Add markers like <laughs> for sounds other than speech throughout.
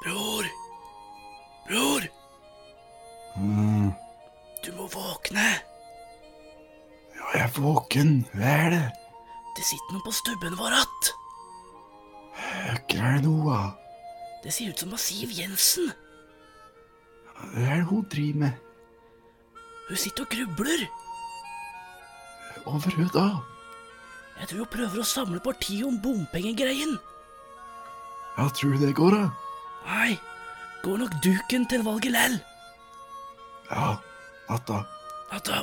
Bror! Bror! Mm. Du må våkne! Ja, jeg er våken. Hva er det? Det sitter noen på stubben vår att! Høkker er det noe av? Det ser ut som det er Siv Jensen. Hva er det hun driver med? Hun sitter og grubler. Over hva da? Jeg tror hun prøver å samle partiet om bompengegreien. Ja, tror du det går, da? Nei, går nok duken til valget lell. Ja, natta. Natta.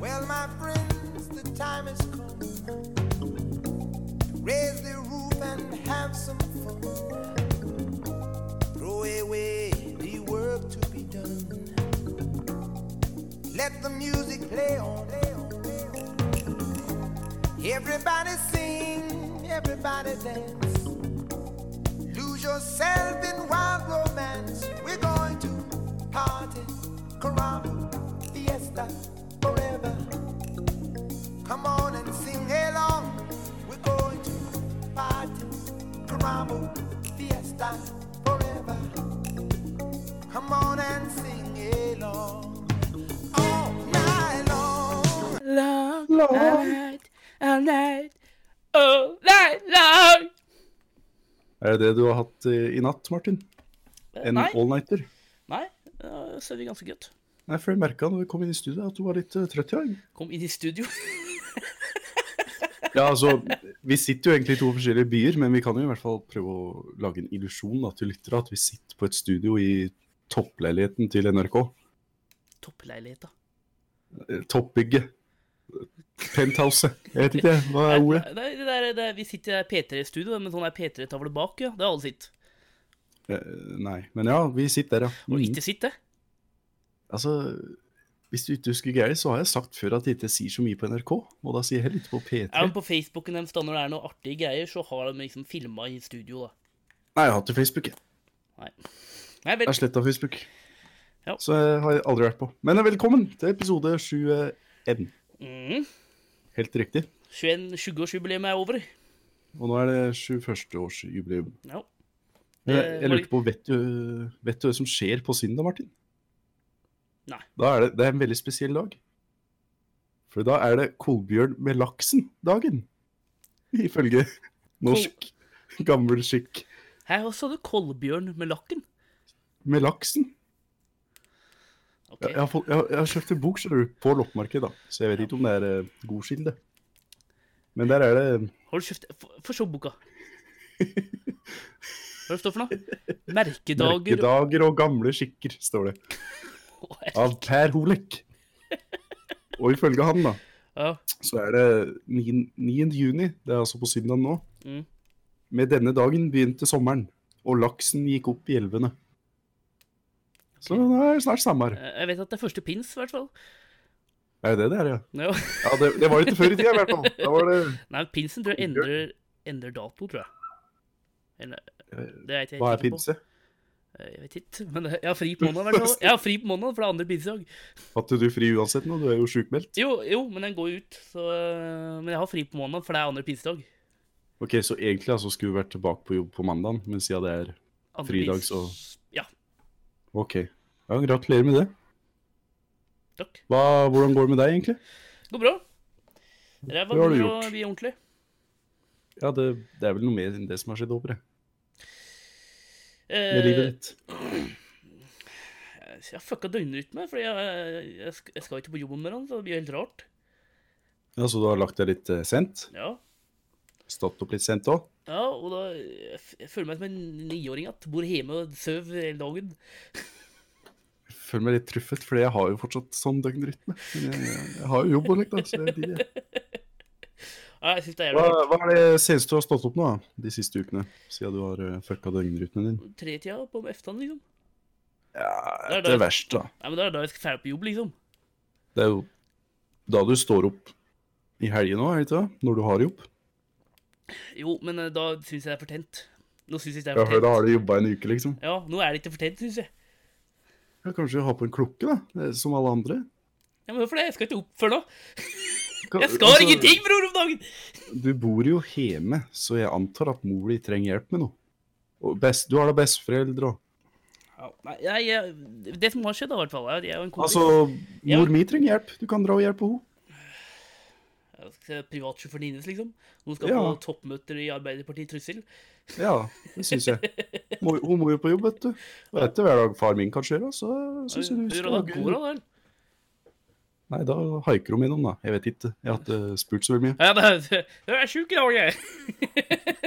Well, my friends, the time has come to raise the roof and have some fun. Throw away the work to be done. Let the music play on. play on, play on. Everybody sing, everybody dance. Lose yourself in wild romance. We're going to party, caramba, fiesta, forever. Come on and sing along. We're going to party, caramba, fiesta, forever. Come on and sing along. All night long. Long, all night, all night, all night long. Er det det du har hatt eh, i natt, Martin? En Nei, all-nighter? nei, det ser vi ganske godt. Nei, for jeg merka da vi kom inn i studio at du var litt eh, trøtt i dag. Kom inn i studio. <laughs> Ja, altså, <laughs> vi sitter jo egentlig i to forskjellige byer, men vi kan jo i hvert fall prøve å lage en illusjon da, til lyttere at vi sitter på et studio i toppleiligheten til NRK. Toppleilighet, da. Eh, Toppbygget. Penthouset. Jeg vet ikke, hva er ordet? Nei, det der, det, vi sitter i P3-studio, men sånn er P3-tavle bak, ja. Det er alle sitt. Eh, Nei, men ja, vi sitter der, ja. Og Mm. ikke sitt, det. Altså, hvis du ikke husker greier, så har jeg sagt før at jeg ikke sier så mye på NRK, og da sier jeg litt på P3. Ja, men på Facebooken deres, da, når det er noe artige greier, så har de liksom filma i studio, da. Nei, jeg har ikke Facebook, jeg. Nei Jeg vel. har sletta Facebook. Ja. Så jeg har aldri vært på. Men velkommen til episode 21. Mm. Helt riktig. 21 20-årsjubileet er over. Og nå er det 21-årsjubileum. Ja. Eh, Jeg, jeg var- lurte på, vet du, vet du hva som skjer på søndag, Martin? Nei. Da er det, det er en veldig spesiell dag. For da er det kolbjørn med laksen-dagen. Ifølge norsk gammel skikk. Her også hadde Kolbjørn med lakken. Med laksen? Ok. Jeg, jeg, har, fått, jeg, har- jeg har kjøpt en bok skjønner du, på loppemarkedet, da. så jeg vet ikke om det er eh, god kilde. Men der er det Har du kjøpt Få få se <laughs> boka. Hva er det står for noe? Merkedager merkedager og gamle skikker, står det. <laughs> Av Per Holek. Og ifølge han, da, Ja. så er det 9. 9. juni, det er altså på søndag nå. Mm. Med denne dagen begynte sommeren, og laksen gikk opp i elvene. Så nå er det snart sommer. eh, Jeg vet at det er første pins, i hvert fall. Er det det det er, ja? Ja. <laughs> Ja, det, det var ikke før i tida, i hvert fall. Da var det Nei, pinsen tror jeg endrer, endrer dato, tror jeg. Eller Det vet jeg Hva er ikke på. Eh, pinse? Jeg vet ikke. <laughs> Men jeg har fri på måneden, i hvert fall. Jeg har fri på måneden, for det er andre pinsedag. Hadde du fri uansett nå? Du er jo sjukmeldt. Jo, jo, men den går jo ut, så øh, Men jeg har fri på måneden, for det er andre pinsedag. Ok, så egentlig altså, skulle vi vært tilbake på jobb på mandagen, men siden det er Andre Fridag, pins- så- Ja. OK. Ja, gratulerer med det. Takk. Hva, hvordan går det med deg, egentlig? Det går bra. Ræva Det har du begynner å gjort. bli ordentlig. Ja, det, det er vel noe mer enn det som har skjedd over, det. Med Eh, livet ditt. Så jeg har fucka døgnrytme, fordi jeg, jeg, sk- jeg skal ikke på jobb om morgenen, så det blir jo helt rart. Ja, Så du har lagt deg litt eh, sent? Ja, Stått opp litt sent òg? ja og da jeg, f- jeg føler meg som en niåring igjen. Bor hjemme og sover hele dagen. Føler meg litt truffet, for jeg har jo fortsatt sånn døgnrytme. Men jeg, jeg har jo jobb og litt, da. Så jeg gidder ikke. Ja, jeg synes det er hva, jævlig rart. hva er det seneste du har stått opp nå, da? De siste ukene? Siden du har eh, fucka døgnrytmen din? Tretida på eftan, liksom. Det Ja, er det det. verst, da. Nei, men da er det da jeg skal ferdig på jobb, liksom. Det er jo da du står opp i helgen nå, er det ikke det? Når du har jobb. Jo, men eh, da syns jeg det er fortjent. Nå syns jeg det er Ja, for da fortjent. har du jobba en uke, liksom. Ja, nå er det ikke fortjent, syns jeg. Ja, kanskje ha på en klokke, da. eh, Som alle andre. Ja, men Hvorfor det? Jeg skal ikke opp før nå. Ka- Jeg skal altså, ingenting, bror, om dagen! Du bor jo hjemme, så jeg antar at mor di trenger hjelp med noe. Og best, du har da besteforeldre òg. Ja, nei, nei, jeg- det som har skjedd, da, i hvert fall, er at jeg og en kompis Altså, Ja. mor mi trenger hjelp. Du kan dra og hjelpe henne. Jeg skal si Privatsjåføren hennes, liksom. Hun skal Ja. på toppmøter i Arbeiderpartiet i Trussel. Ja, det syns jeg. Må, <laughs> hun må jo på jobb, vet du. Og dette hver dag far min kan kjøre, så syns jeg du skal Hvordan går det, vel? Nei, da haiker hun innom, da. Jeg vet ikke. Jeg har ikke eh, spurt så veldig mye. Ja, det er, det er sjuk i dag, jeg.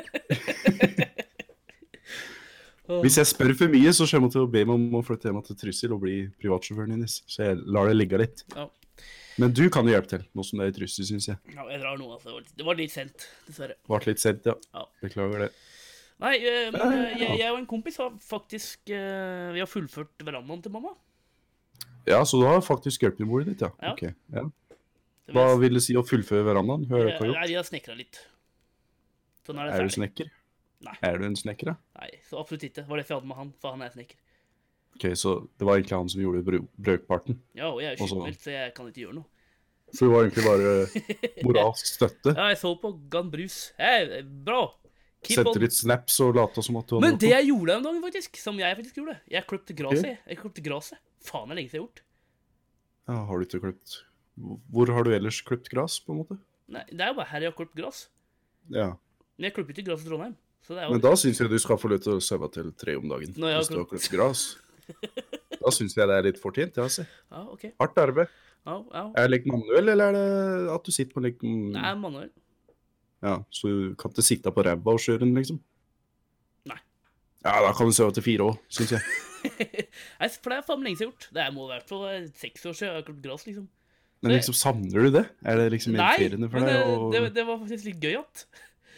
Åh. Hvis jeg spør for mye, så kommer hun til å be meg om å flytte hjemme til Trysil og bli privatsjåføren hennes. Så jeg lar det ligge litt. Ja. Men du kan jo hjelpe til, nå som det er i Trysil, syns jeg. Ja, jeg drar nå, altså. Det var litt- Det var litt sent, dessverre. Vart litt sent, ja. Ja. Beklager det. Nei, eh, men eh, Ja. jeg, jeg og en kompis har faktisk eh, Vi har fullført verandaen til mamma. Ja, så du har faktisk hjulpet moren ditt, ja. Ja. Ok, ja. Så vi Hva har- vil det si å fullføre verandaen? Hør, hva eh, gjort? Nei, vi har snekra litt. Så nå er det Er du ferdig. snekker? Nei. Er du en snekker, da? Nei, så absolutt ikke. Det var derfor jeg hadde med han, for han er snekker. Ok, så det var egentlig han som gjorde br brøkparten. Ja, og jeg er Og så- sykmeldt, så jeg kan ikke gjøre noe. Så det var egentlig bare moralsk <laughs> støtte. Ja, jeg så på Gun Bruce. Hey, bra! Keep Sendte on. litt snaps og lata som at du hadde Men gjort det noe. jeg gjorde den dagen, faktisk, som jeg faktisk gjorde Jeg klipte gresset. jeg. Jeg klipte gresset. Faen, det er lenge siden jeg har gjort. Ja, har du ikke klipt Hvor har du ellers klipt gress, på en måte? Nei, Det er jo bare her jeg har klippet gress. Ja. Men jeg klipper ikke gress i Trondheim. Så det er jo Men da syns jeg du skal få lov til å saue til tre om dagen. Når jeg har hvis du har klipt. klipt gress. <laughs> Da syns jeg det er litt fortjent. Ja, altså. Ja, ok. Hardt arbeid. Ja, ja. Er det like manuell, eller er det at du sitter på en like Nei, manuell. <laughs> Ja, så du kan ikke sitte på ræva og kjøre den, liksom? Nei. Ja, da kan du se til fire òg, syns jeg. Nei, for det er faen meg lenge siden jeg har gjort. Det er må i hvert fall være seks år siden jeg har klippet gress, liksom. Men liksom, savner du det? Er det liksom Nei, irriterende for men det, deg? Og det, det var faktisk litt gøy at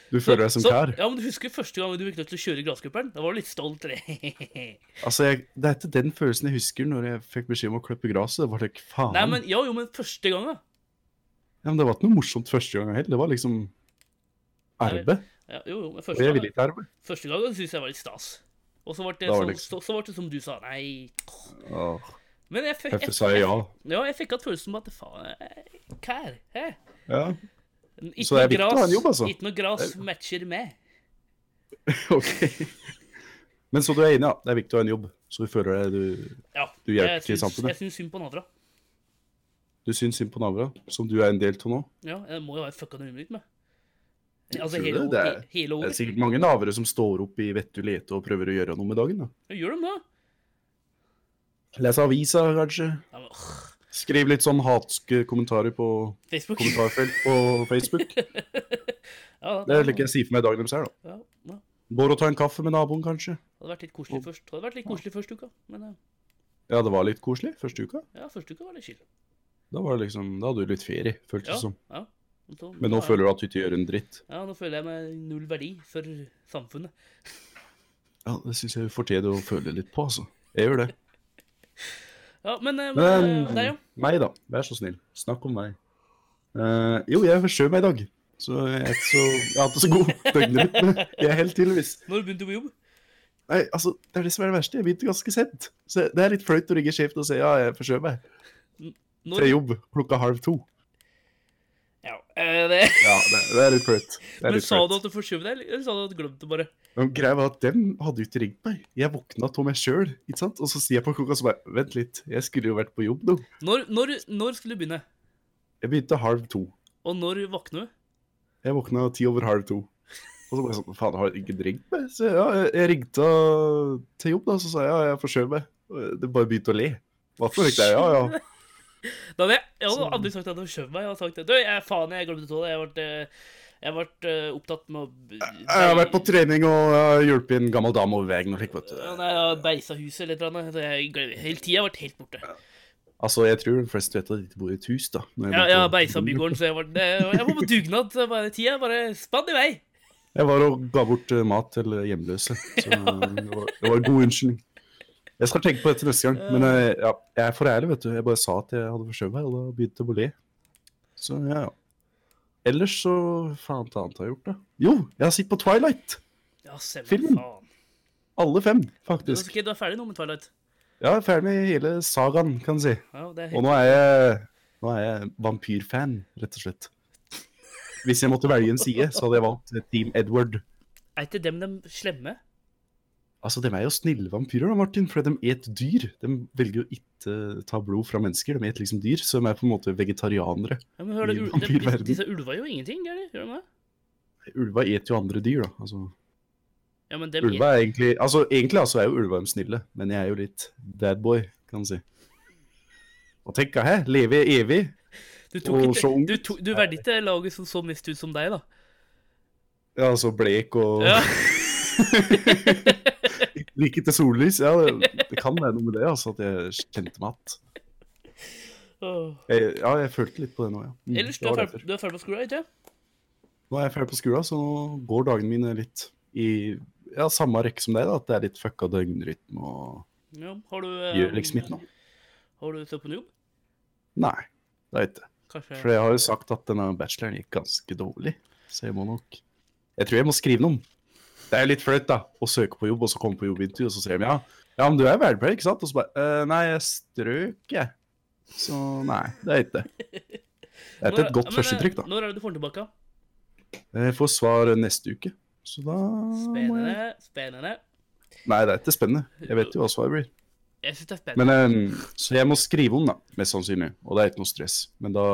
du føler deg som Så- kar? Ja, men du husker første gang du fikk lov til å kjøre gresskupperen? Da var du litt stolt. <laughs> eller? Altså, jeg, Det er ikke den følelsen jeg husker når jeg fikk beskjed om å klippe gresset. Det var like, faen. Nei, men jo, jo, men første gang, da. Ja, men det var ikke noe morsomt første gang heller. Det var liksom arbeid. Ja, jo, jo, men Og første jeg gang. ville ikke arbeid. Første gangen syntes jeg var litt stas. Og så ble det, Da var så, det så, så ble det som du sa, nei Åh, Men jeg, fikk- Derfor sa jeg ja. ja, jeg fikk hatt følelsen av at faen eh, Kær. hæ? Ja, Ikke Så det er noe viktig å ha en jobb, altså. Ikke noe gras matcher med. ok. Men så du er enig, ja. Det er viktig å ha en jobb. Så du føler deg du, Ja, Du hjelper jeg til syns- samfunnet. Jeg syns synd på Navra. du syns synd på naboene, som du er en del av nå. Ja, jeg må jo være fucka nøye mitt med. Altså tror hele, det, det er- he- hele Det er året. sikkert mange navere som står opp i vettulete og prøver å gjøre noe med dagen. da. Ja, Gjør de det? Lese avisa, kanskje. Ja, men, åh, Skriv litt sånn hatske kommentarer på Facebook. <laughs> kommentarfelt på Facebook. Ja, Det er like jeg sier for meg i dag deres her, da. ja, ja. Går og tar en kaffe med naboen, kanskje. Hadde vært litt koselig først. Hadde vært litt koselig første uka, men eh, Ja, det var litt koselig første uka. ja, første uka var det chill. Da var det liksom, da hadde du litt ferie, føltes Ja, det som. ja. Så- Men nå ja. føler du at du ikke gjør en dritt. Ja, nå føler jeg meg null verdi for samfunnet. Ja, det syns jeg du fortjener å føle litt på, altså. Jeg gjør det. Ja, men, eh, men Men eh, der, ja. meg, da. Vær så snill. Snakk om meg. Eh, jo, jeg forsøv meg i dag. Så jeg er ikke så Jeg har ikke så god døgnrytme. Jeg er helt tydeligvis Når begynte du på jobb? Nei, altså, Det er det som er det verste. Jeg begynte ganske sent. Så det er litt flaut å ringe sjefen og si ja, jeg forsøv meg. Når? Til jobb klokka halv to. Ja, eh, det. Ja, det, det er litt flaut. Det <laughs> er Men litt sa du flaut. at du forskjøv deg, eller sa du at du glemte det bare? Men greia var at dem hadde jo ikke ringt meg. Jeg våkna av meg sjøl, ikke sant. Og så sier jeg på klokka så bare Vent litt, jeg skulle jo vært på jobb nå. Når, når, når skulle du begynne? Jeg begynte halv to. Og når våkner du? Jeg våkna ti over halv to. Og så bare sånn Faen, har jeg ikke ringt meg? Så ja, jeg, jeg ringte til jobb, da. Så sa jeg ja, jeg forsøv meg. Og Det bare begynte å le. Hva for noe? Ja, ja. Da hadde jeg, jeg hadde Så- aldri sagt at du forskjøv meg. Jeg hadde sagt at du, jeg, faen, jeg glemte det. Jeg ble, eh, jeg ble eh, opptatt med å b- Jeg har vært på trening og uh, hjulpet en gammel dame over veien og slikt, vet du. Ja, Nei, jeg har beisa huset eller et eller annet. så Jeg glemmer- Hele tida har jeg vært helt borte. Altså, jeg tror de fleste vet at de ikke bor i et hus, da. når Jeg, jeg begynte har å- beisa bygården, så jeg var, det, jeg var på dugnad. så Bare, tida bare spann i vei. Jeg var og ga bort eh, mat til eh, hjemløse, så eh, det var, det var en god unnskyldning. Jeg skal tenke på dette neste gang, men eh, ja, jeg er for ærlig, vet du. Jeg bare sa at jeg hadde forskjøvet meg, og da begynte jeg å le. Så ja, ja. Ellers så Faen, hva annet har jeg gjort, da? Jo, jeg har sett på Twilight. Ja, se hva Filmen. faen. Alle fem, Du, faktisk. ok, du er ferdig nå med Twilight? Jeg er ferdig med hele sagaen, kan du si. Ja, det er Og helt... nå er jeg, nå er jeg vampyrfan, rett og slett. Hvis jeg måtte velge en side, så hadde jeg valgt eh, Team Edward. Er ikke dem de slemme? Altså, De er jo snille vampyrer, da, Martin, for de et dyr. De velger jo ikke eh, ta blod fra mennesker, de et liksom dyr. Så de er på en måte vegetarianere. Ja, men hør, det, I ul- de, de, vampyrverden. disse ulva gjør jo ingenting, gjør de? Gjør de det? Ulva et jo andre dyr, da. Altså, Ja, men dem ulva er egentlig altså, egentlig altså, er jo ulva de snille, men jeg er jo litt bad boy, kan du si. Og tenk, hæ? Leve evig? Du, tok og ikke, så ung du, to, du verdet ikke laget som så mest ut som deg, da. Ja, altså blek og <laughs> Ja. Like til sollys. Ja, det, det kan være noe med det, altså, at jeg kjente meg igjen. Åh. Jeg, ja, jeg følte litt på det nå, ja. Mm, Ellers, du det er, var ferdig, derfor. du er ferdig på skolen, ikke Nå er jeg ferdig på skolen, så nå går dagene mine litt i ja, samme rekke som deg, da, at det er litt fucka døgnrytme og Ja, har du eh, gjør liksom ikke noe. Har du søkt på en jobb? Nei, det er ikke. Kanskje For jeg har jo sagt at denne bacheloren gikk ganske dårlig, så jeg må nok Jeg tror jeg må skrive noe. Det er jo litt flaut, da, å søke på jobb, og så komme på jobbintervju, og så sier de ja, ja, men du er verdipleier, ikke sant? Og så bare «Eh, Nei, jeg strøk, jeg. Så nei, det er ikke det. Det Når er ikke et ja, men, godt eh, førsteinntrykk, da. Når er det du får den tilbake? Eh, Jeg får svar neste uke, så da må jeg Spennende. spennende. Nei, det er ikke spennende. Jeg vet jo hva svaret blir. Jeg syns det er spennende. Men, eh, så jeg må skrive om, da, mest sannsynlig. Og det er ikke noe stress. Men da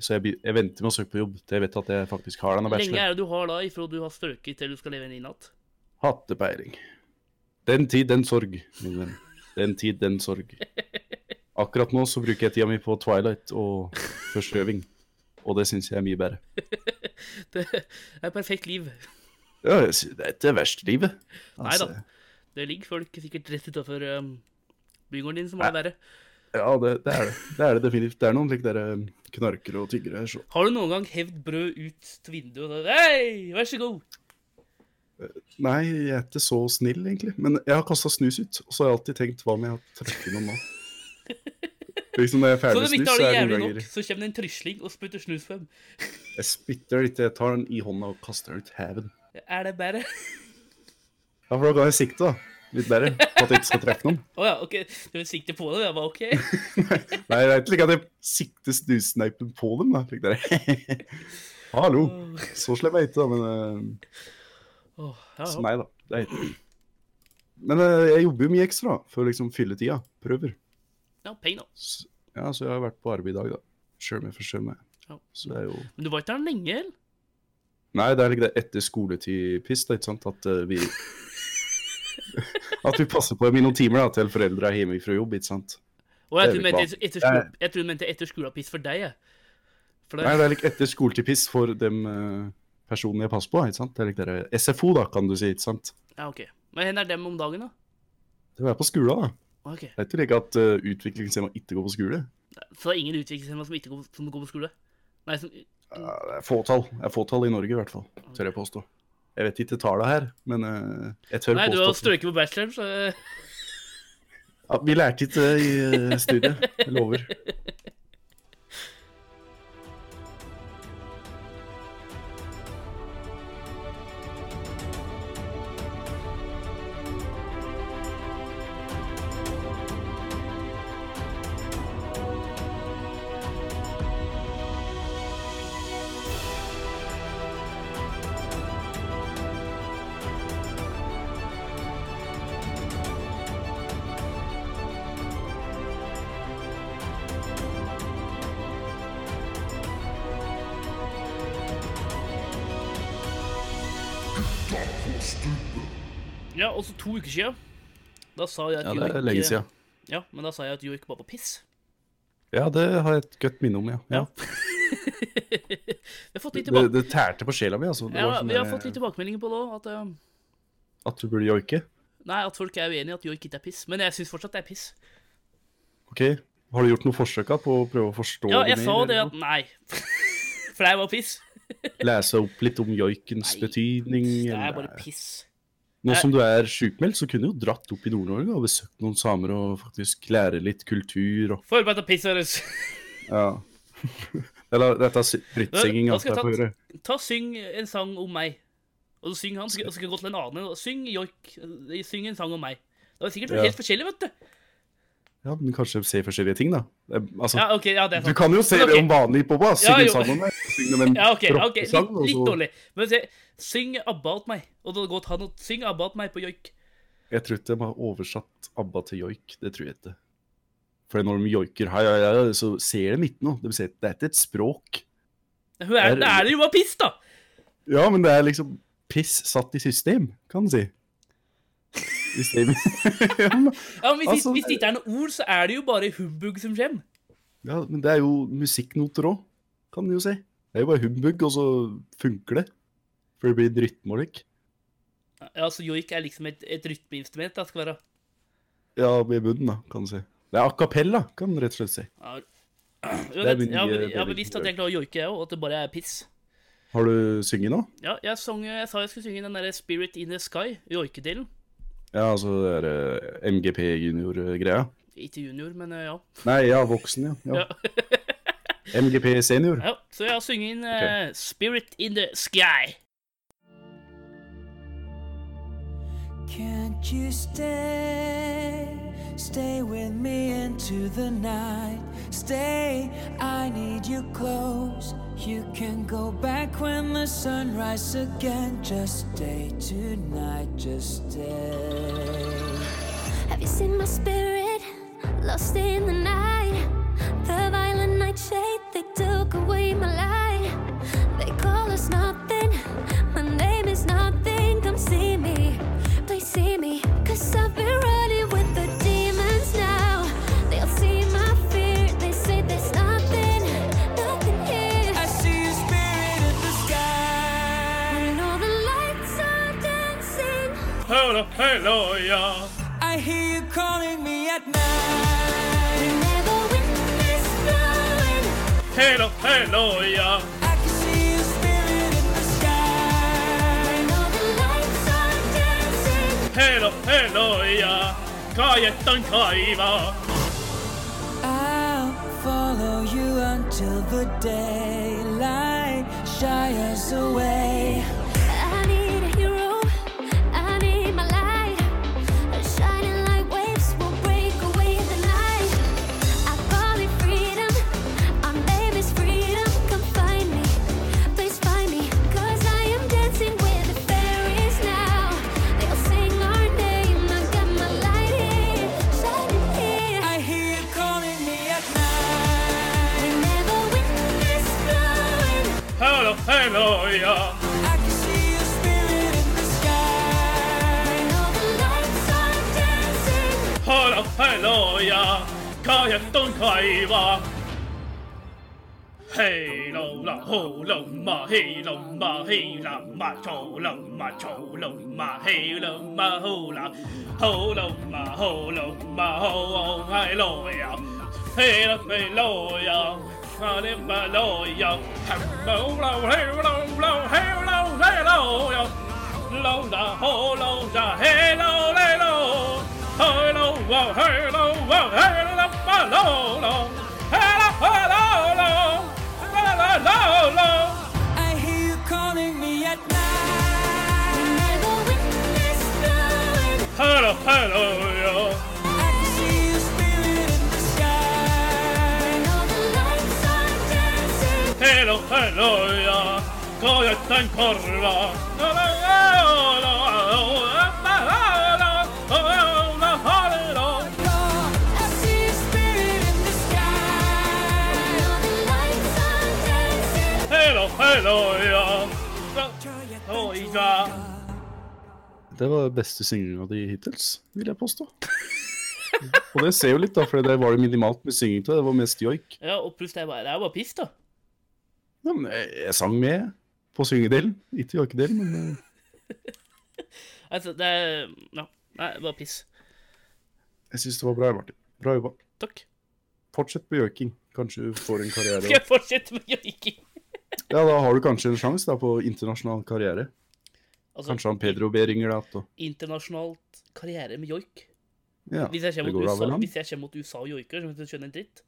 Så jeg, be- jeg venter med å søke på jobb til jeg vet at jeg faktisk har denne lenge bacheloren. er det du har da ifra du har strøket til du skal leve en inatt? Hattepeiling. Den tid, den sorg, min venn. Den tid, den sorg. Akkurat nå så bruker jeg tida mi på Twilight og forstøving. Og det syns jeg er mye bedre. <laughs> Det er et perfekt liv. Ja, jeg sy- det er ikke verst livet. Altså, Neida. Det ligger folk sikkert rett utafor bygården din som har det verre. Ja, det, det er det. Det er det definitivt. Det er noen like dere knarkere og tiggere her, så Har du noen gang hevd brød ut til vinduet og sagt Hei, vær så god? Nei, jeg er ikke så snill, egentlig. Men jeg har kasta snus ut, og så har jeg alltid tenkt hva om jeg har trukket <laughs> noe nå? Liksom når jeg er Så ferdig de med ikke snus, har så det er jeg jævlig noen nok, ganger så kommer det en trysling og spytter snus på dem. Jeg spytter litt, jeg tar den i hånda og kaster den ut haven. Er det bedre? <laughs> Ja, for da kan jeg sikte, da. Litt bedre. På at jeg ikke skal treffe <laughs> noen. Å ja, OK. Du vil sikte på det? Jeg bare <laughs> OK. Nei, det er ikke like at jeg sikter snussneipen på dem, da. Slik dere. <laughs> Hallo. Så slem er jeg ikke, da, men eh, Åh, ja, Så ja. nei da. Det er ikke Men eh, jeg jobber jo mye ekstra for å liksom fylle tida. Prøver. ja, penger, da. S- Ja, så jeg har vært på arbeid i dag, da. Sjøl om jeg forsømmer. Ja. Så det er jo Men du var ikke der lenge, eller? Nei, det er ikke det etter skoletid-piss, da, ikke sant? At eh, <laughs> vi At vi passer på dem i noen timer da, til foreldre er hjemme fra jobb, ikke sant. Å, jeg tror Det er du vel mente etter- etter bra. skole- jeg tror du mente etter skolepiss for deg, jeg. For det, Nei, det er ikke etter skoletid-piss for de personene jeg passer på, ikke sant. Det er ikke det SFO, da, kan du si, ikke sant. ja, ok. Men hvor er dem om dagen, da? Det er på skolen, da. Ok. Det er ikke like at uh, utviklingshemma ikke går på skole. Så det er ingen utviklingshemmede som ikke går, som går på skole? Nei, som Ja, det er fåtall. Det er fåtall i Norge, i hvert fall. Tør jeg påstå. Jeg vet ikke tallene her, men eh, jeg tør Nei, du påstå har at- strøket på bacheloren, så ja, Vi lærte ikke i eh, studiet, jeg lover. Ja, også to uker siden. Da sa jeg at Ja, Jo det ikke- er lenge siden. Ja, men da sa jeg at jo ikke var på piss. <laughs> Ja, det har jeg et godt minne om, ja. ja. Vi har fått litt Det, tilbake... det tærte på sjela mi, altså. Det var Ja, sånn vi har der, fått litt tilbakemeldinger på det òg, at eh, At du burde joike. Nei, at folk er uenige i at joik ikke er piss. Men jeg syns fortsatt det er piss. Ok, har du gjort noen forsøk da, på å prøve å forstå Ja, jeg sa eller det at noe? Nei. <laughs> For det var piss. Lese opp litt om joikens Nei, betydning? Det eller- er bare piss. Nå som du er sjukmeldt, så kunne du jo dratt opp i Nord-Norge og besøkt noen samer og faktisk lære litt kultur og Forberedt av piss, høres. Ja. Eller dette er sy- drittsynging. Hva alt skal jeg jeg får ta- gjøre. Ta og Syng en sang om meg. Og så syng han, og så skal jeg gå til en annen. og Syng joik. eh, Syng en sang om meg. Det var sikkert Ja. helt forskjellig, vet du. Ja, men kanskje se forskjellige ting, da. Eh, Altså, Ja, ok, ja, det er Du sant. kan jo se Men ok. det om vanlig hiphop. da. Ja, Synge jo. sammen med synge med <laughs> en Ja, ok, ok, rockesang, litt, og litt så- dårlig. Men se, syng 'About meg'. Og da går han og syng 'About meg' på joik. Jeg tror ikke de har oversatt ABBA til joik. Det tror jeg ikke. For når de joiker hei, hei, hei, så ser de ikke noe. De ser, det er ikke et språk. Hun er, Er- det er det jo bare piss, da! Ja, men det er liksom piss satt i system, kan du si. I stedet- <laughs> ja, men- Ja, men hvis, Altså, hvis det ikke er noe ord, så er det jo bare humbug som kommer. ja, men det er jo musikknoter òg, kan du jo si. Det er jo bare humbug, og så funker det. For det blir drittmålik. Ja, så joik er liksom et, et rytmeinstrument. da, skal være. Ja, i bunnen, da, kan du si. Det er a cappella, kan du rett og slett si. Ja. er Uansett, min jeg har nye bevi- jeg har David bevisst at jeg klarer å joike, jeg òg, og at det bare er piss. Har du sunget nå? Ja, jeg, sang, jeg sa jeg skulle synge den derre 'Spirit in the Sky', joikedelen. Ja, altså det er eh, MGP junior-greia. Ikke junior, men eh, ja. Nei, ja, voksen, ja. ja. MGP <laughs> senior. ja. Så jeg har sunget inn eh, 'Spirit in the Sky'. Can't you stay? Stay with me into the night. Stay, I need you close. You can go back when the sun rises again. Just stay tonight, just stay. Have you seen my spirit lost in the night? The violent nightshade, they took away my light. They call us nothing, my name is nothing. Come see me, please see me. Cause I've been running with the demons now. They'll see my fear, they say there's nothing, nothing here. I see your spirit in the sky. When all the lights are dancing. Hello, hello, ja. I hear you calling me at night. Never witness blowing. Hello, hello, ja. I can see your spirit in the sky. All the lights are dancing. Hello, hello, ja. Kajetan kaiva. I'll follow you until the daylight shines away. I need a hero. I need my light. Shining like waves will break away the night. I call it freedom. Our name is freedom. Come find me. Please find me. 'Cause I am dancing with the fairies now. They'll sing our name. I got my light here. Shining here. I hear you calling me at night. We never witness blowing. Hello, hello, ja. I can see your spirit in the sky. All the lights are dancing. Hello, hello, ja. Kajetan kaiva. Hei lo la ho lo ma hei lo ma hei la ma cho lo ma cho lo ma hei lo ma ho la ho lo ma ho lo ma ho ho hai lo ya hei lo hei lo ya ha le ma lo ya ha lo lo hei lo lo hei lo hei lo ya lo da ho lo da hei lo le lo hei lo wa hei lo wa hei lo ma lo lo hei lo hei lo lo La, la, la, la. I hear you calling me at night. Never witness blowing. Hello, hello, ja. I can see your spirit in the sky. All the lights are dancing. Hello, hello, ja. Kajetan korva. La, la, la, la, la, la, la. Oh, la, la, la. I see your spirit in the sky. All the lights are dancing. Hello, hello, ja. La, oh, ja. Det var den beste synginga di hittils, vil jeg påstå. <laughs> Og det ser jo litt, da, for det var det minimalt med synging til. Det var mest joik. Ja, og pluss det er bare, det er bare piss, da. Ja, men jeg, jeg sang med på syngedelen, ikke joikedelen, men eh, Altså, det er Ja. Nei, bare piss. jeg syns det var bra, Martin. Bra jobba. Takk. Fortsett på joiking. Kanskje du får <laughs> en Skal karriere. jeg fortsette med joiking? Ja, da har du kanskje en sjanse da, på internasjonal karriere. Altså, Kanskje han Pedro B ringer deg igjen. internasjonalt karriere med joik. Ja, Hvis jeg det kommer går mot da USA, vel an? hvis jeg kommer mot USA og joiker, så må du skjønne en dritt.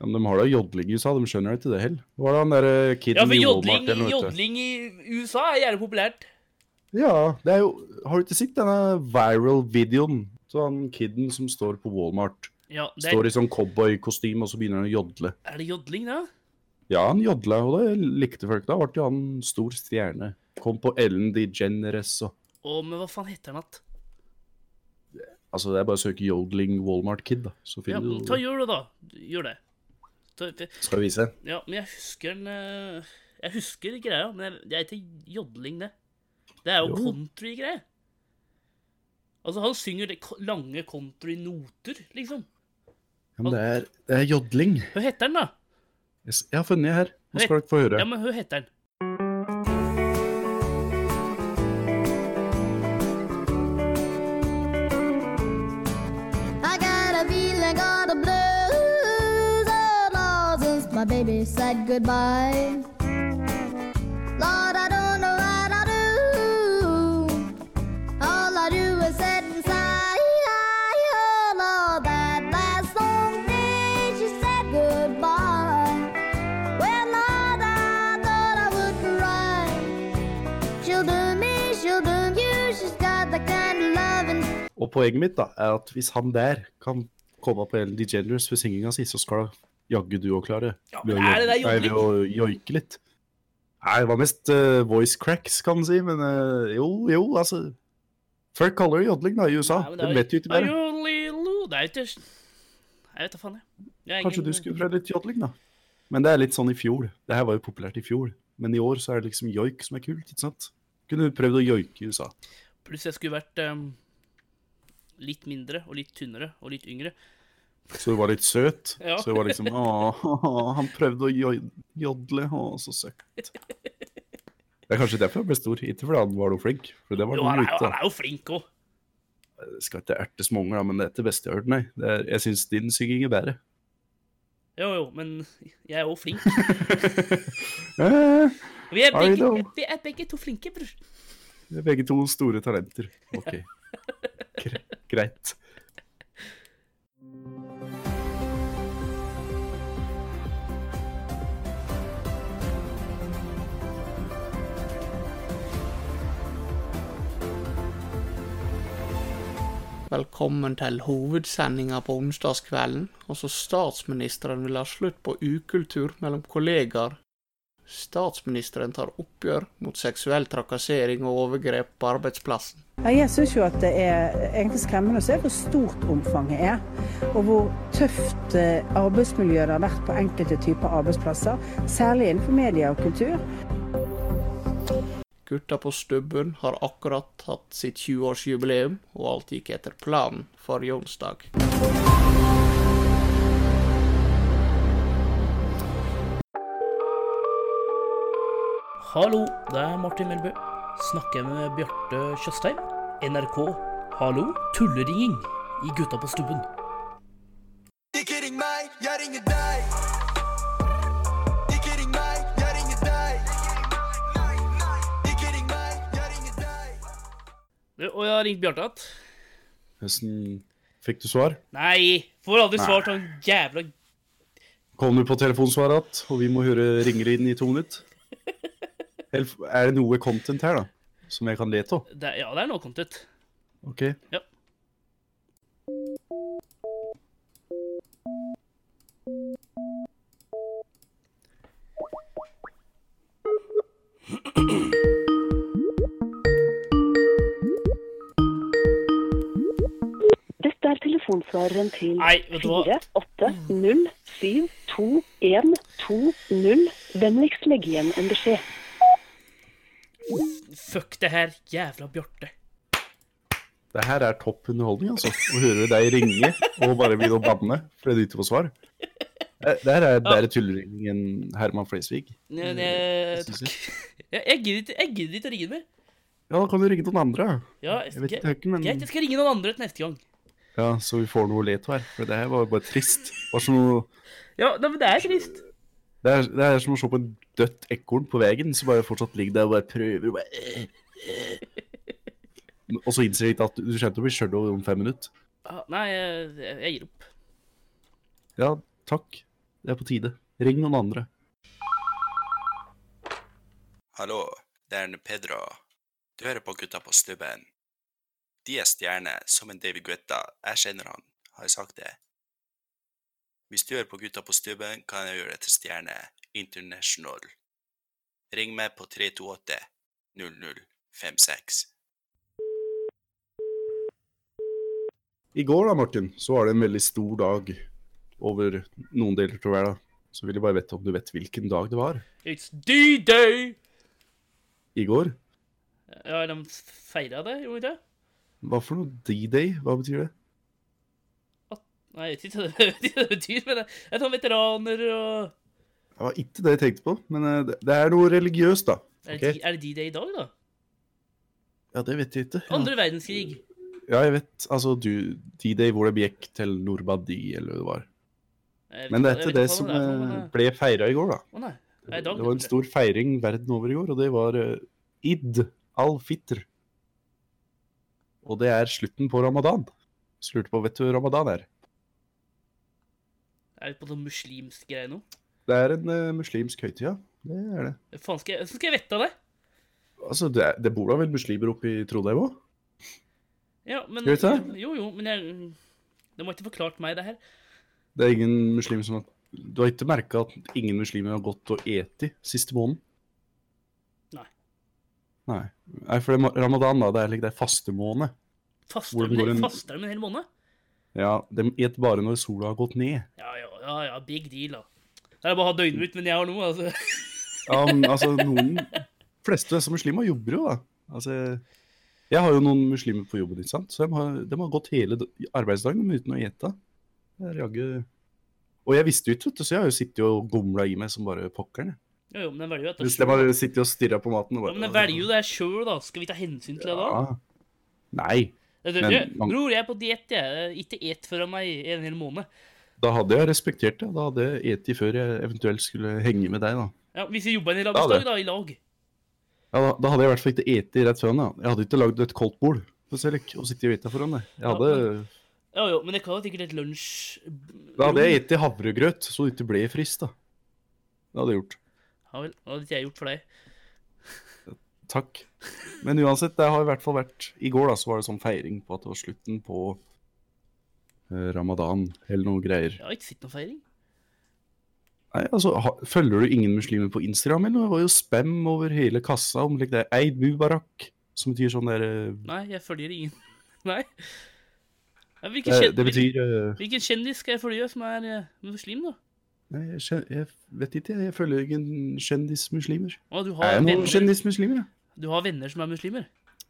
Ja, men de har da jodling i USA, de skjønner det til det hell. Hva var det han derre kiden Ja, for Liksom i jodling, Walmart eller noe? vet du? jodling i USA er gjerne populært. Ja, det er jo Har du ikke sett denne viral videoen? Så han kiden som står på Walmart, Ja, det er, står i sånn cowboykostyme, og så begynner han å jodle. er det jodling, da? Ja, han jodla, og det likte folk. Da ble jo han stor stjerne. Kom på Ellen DeGeneres og Å, men hva faen heter den at? Altså, det er bare å søke 'Jodling Walmart Kid', da. Så Ja, finner du ta gjør det, da. Gjør det. Ta, Skal vi vise? ja, men jeg husker den eh, Jeg husker greia, men jeg- det er ikke jodling, det. Det er jo Jo. country-greie. Altså, han synger det ko- lange country-noter, liksom. Ja, men det er, det er jodling. Hva heter den, da? Jeg s- jeg har funnet det her. Nå skal Hei. dere få høre. Ja, men hva heter den? I got a feeling got the blues. Oh Lord, since my baby said goodbye. Lord, I don't know what I do. All I do is sit and sigh. Oh Lord, that last lonely she said goodbye. Well, Lord, I thought I would cry. She'll do me, she'll do you. She's got the kind of loving. Og poenget mitt da, er at hvis han der kan komme på Ellen DeGeneres ved singinga si, så skal jaggu du òg klare Ja, ved men å er det der jod- nei, ved å joike litt. Nei, det var mest eh, voice cracks, kan man si, men eh, jo, jo, altså Folk kaller det jodling da, i USA. Nei, men det er- De Ah, vet jo ikke bedre. Ayo, lilo. Det er ikke Jeg vet da faen, jeg. jeg er Kanskje du ingen- skulle prøvd litt jodling, da. Men det er litt sånn i fjor. Det her var jo populært i fjor. Men i år så er det liksom joik som er kult, ikke sant? Kunne du prøvd å joike i USA? Pluss jeg skulle vært em, litt mindre og litt tynnere og litt yngre. Så du var litt søt? Ja. Så du var liksom Åh, <laughs> han prøvde å jo- jodle, å, så søtt. Det er kanskje derfor han ble stor, ikke fordi han var noe flink. For det var Jo, han noe er, jo- han ute. er jo flink òg. Skal ikke erte småunger, da, men det er ikke det beste jeg har hørt, nei. Det er, jeg syns din synging er bedre. Jo, jo, men jeg er òg flink. Eh, Vi er, I begge, know. vi er begge to flinke, bror. det er begge to store talenter. OK. Gre greit. Velkommen til hovedsendinga på onsdagskvelden. Altså statsministeren vil ha slutt på ukultur mellom kollegaer. Statsministeren tar oppgjør mot seksuell trakassering og overgrep på arbeidsplassen. Ja, jeg syns jo at det er egentlig skremmende å se hvor stort omfanget er. Og hvor tøft eh, arbeidsmiljøet det har vært på enkelte typer arbeidsplasser. Særlig innenfor media og kultur. Gutta på Stubben har akkurat hatt sitt 20-årsjubileum, og alt gikk etter planen forrige onsdag. Hallo, det er Martin Melbø. Snakker jeg med Bjarte Tjøstheim? NRK Hallo? Tulleringing i Gutta på stubben. Ikke ring meg, jeg ringer deg. Ikke ring meg, jeg ringer deg. Ikke ring meg, jeg ringer deg. Du, Og jeg har ringt Bjarte igjen. Hvordan fikk du svar? Nei, får aldri Nei. svar til han jævla Kom du på telefonsvaret igjen, og vi må høre ringelyden i to minutter? Eller er det noe content her, da? Som jeg kan le av? det, er- Ja, det er noe content. OK. Ja. Dette er telefonsvareren til Nei, vet du hva? 48072120. Vennligst legg igjen en beskjed. Fuck det her jævla Bjarte. Det her er topp underholdning, altså. Å høre deg ringe og bare begynne å banne fordi du ikke får svar. Det det her er bedre tulleringing enn Herman Flesvig. Ne, ne, Mm, synes takk. <laughs> Jeg, jeg, gidder ikke, jeg gidder ikke å ringe mer. Ja, da kan du ringe noen andre. Ja, Jeg vet jeg- ikke hvem, Greit, jeg men skal ringe noen andre til neste gang. Ja, så vi får noe å le av her. For det her var jo bare trist. Det, var som å... Ja, nei, men det er trist. det, er, det er som å se på en dødt ekorn på veien som bare fortsatt ligger der og bare prøver og bare Og så innser jeg ikke at du kommer til å bli sjøl om fem minutter. Ah, Nei, jeg, jeg gir opp. Ja, takk. Det er på tide. Ring noen andre. Hallo, det er Pedro. Du hører på gutta på stubben. De er stjerner, som en David Guetta. Jeg kjenner han, har jeg sagt det? Hvis du hører på gutta på stubben, kan jeg gjøre deg til stjerne international. Ring meg på 328 0056. I går da, Martin, så var det en veldig stor dag over noen deler av verden. Så vil jeg bare vite om du vet hvilken dag det var. It's D-day! I går? Ja, de feira det, gjorde de det? Hva for noe D-day? Hva betyr det? Nei, <laughs> jeg vet ikke hva det- hva det betyr, men det er sånn veteraner og Det var ikke det jeg tenkte på, men eh, det- det er noe religiøst, da. Er det Ok. D- er det D-day i dag, da? Ja, det vet jeg ikke. Andre verdenskrig. Ja, jeg vet. Altså, du, D-day hvor det gikk til Normandie, eller hva det var. Jeg vet Men ikke- det er jeg ikke det vet ikke som hva er for noe, men eh, det- ble feira i går, da. Å nei. Det er i dag, Det var en kanskje. stor feiring verden over i går, og det var eh, Id al-Fitr. Og det er slutten på ramadan. Så lurte jeg på, vet du hva ramadan er? Er det på sånn muslimsk greie nå? Det er en eh, muslimsk høytid, ja. Det er det. Hva Faen skal jeg, så skal jeg vette av det? Altså, det, er, det bor da vel muslimer oppe i Trondheim òg? Ja, men, Skal vi ta det? jo, jo, men jeg, de har ikke forklart meg det her. Det er ingen muslimer som har Du har ikke merka at ingen muslimer har gått og eti siste måneden? Nei. Nei. Nei, for det, er ma- ramadan, da, det er, like, det er fastemåned. Faster Hvordan går de en- faster de en hel måned? Ja, de et bare når sola har gått ned. Ja, ja, ja, ja, big deal, da. Det er bare å ha døgnet ut, men jeg har noe, altså. <laughs> Ja, men altså, noen fleste som muslimer jobber jo, da. Altså, jeg har jo noen muslimer på jobben, ikke sant? så de har, de har gått hele d- arbeidsdagen de, uten å ete. Det er jaggu Og jeg visste jo ikke, vet du, så jeg har jo sittet og gomla i meg som bare pokkeren. jeg. Jo, jo, men de velger jo Hvis dette. de har sittet og stirra på maten og Ja, bare men de velger jo det her sjøl, da. Skal vi ta hensyn til det da? Ja. Nei, Det er det- Men- det- Bror, jeg er på diett, jeg. Ikke et foran meg i en hel måned. da hadde jeg respektert det. Da hadde jeg eti før jeg eventuelt skulle henge med deg, da. Ja, Hvis vi jobba en hel Ja, arbeidsdag, det. da, i lag. Ja, da, da hadde jeg i hvert fall ikke eti rett foran deg. Jeg hadde ikke lagd et koldt bord for Selek og sittet og eta foran deg. Jeg hadde Ja, jo, men jeg kan jo sikkert et lunsj... Da hadde jeg spist havregrøt, så det ikke ble frist, da. Det hadde jeg gjort. Ja vel, det hadde ikke jeg gjort for deg. Takk. Men uansett, det har i hvert fall vært I går da, så var det sånn feiring på at det var slutten på eh, ramadan, eller noe greier. Jeg har ikke sett noen feiring. Nei, altså, ha, Følger du ingen muslimer på Instagram, eller? Det var jo spam over hele kassa om like, det er Eid Mubarak, som betyr sånn der eh, Nei, jeg følger ingen. <laughs> Nei. Ja, hvilken, Det, kjen- det betyr eh, hvilken kjendis skal jeg følge som er eh, muslim, da? Nei, jeg, kjen- jeg vet ikke, jeg. Jeg følger ingen kjendismuslimer. Å, du Er har, jeg noen venner, kjendismuslimer, jeg? du har venner som er muslimer?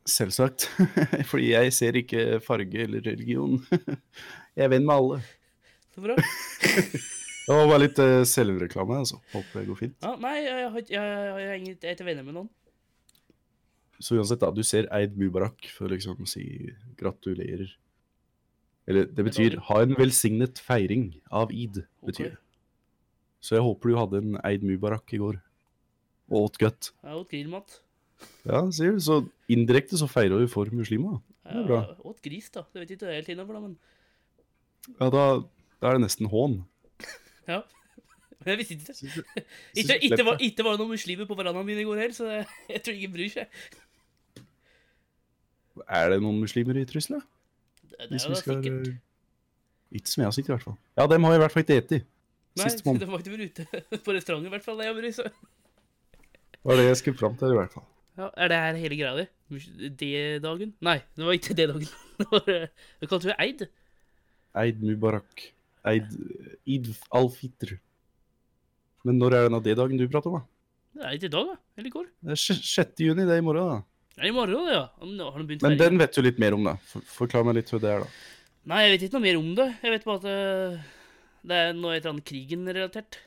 Selvsagt. <laughs> Fordi jeg ser ikke farge eller religion. <laughs> Jeg er venn med alle. Så bra. Det var bare litt eh, selvreklame, altså. Håper det går fint. <laughs> Ja, nei, jeg, har ikke- jeg, jeg, jeg, er ingen- jeg er ikke venner med noen. Så uansett, da. Du ser Eid Mubarak for å liksom si gratulerer. Eller det betyr ha en velsignet feiring av id, betyr det. Så jeg håper du hadde en Eid Mubarak i går. Og åt godt. Jeg åt grillmat. Ja, sier du. Så indirekte så feirer du for muslimer. da. Det Jeg er bra. åt gris, da. Det vet jeg ikke helt innafor, da, men <laughs> Ja, da, da er det nesten hån. ja. Men jeg visste ikke det. Synes du- synes Ikke, du ikke, var, slipper. ikke var det noen muslimer på verandaen min i går heller, så <laughs> jeg, jeg tror ingen bryr seg. Er det noen muslimer i Trusla? Det, det Hvis er vi da skal sikkert. Ikke som jeg har sett, i hvert fall. Ja, dem har jeg i hvert fall ikke spist. Nei, Sist <laughs> måned det var ikke vel ute på restauranten, i hvert fall. Jeg bryr seg. var det jeg skulle fram til, i hvert fall. Ja, er det her hele greia di? Mus- D-dagen? Nei, det var ikke D-dagen. <laughs> Det var eh, Det kalte vi Eid. Eid Mubarak. Eid Id al-Fitr. Men når er denne D-dagen du prater om, da? Det er ikke i dag, da. Eller i går. Det er sj- 6. juni, det er i morgen, da. Det er i morgen, det, ja. Om- Har de begynt Men feiringen? den vet du litt mer om, da. For, forklar meg litt hva det er, da. Nei, jeg vet ikke noe mer om det. Jeg vet bare at eh, det er noe et eller annet krigen-relatert.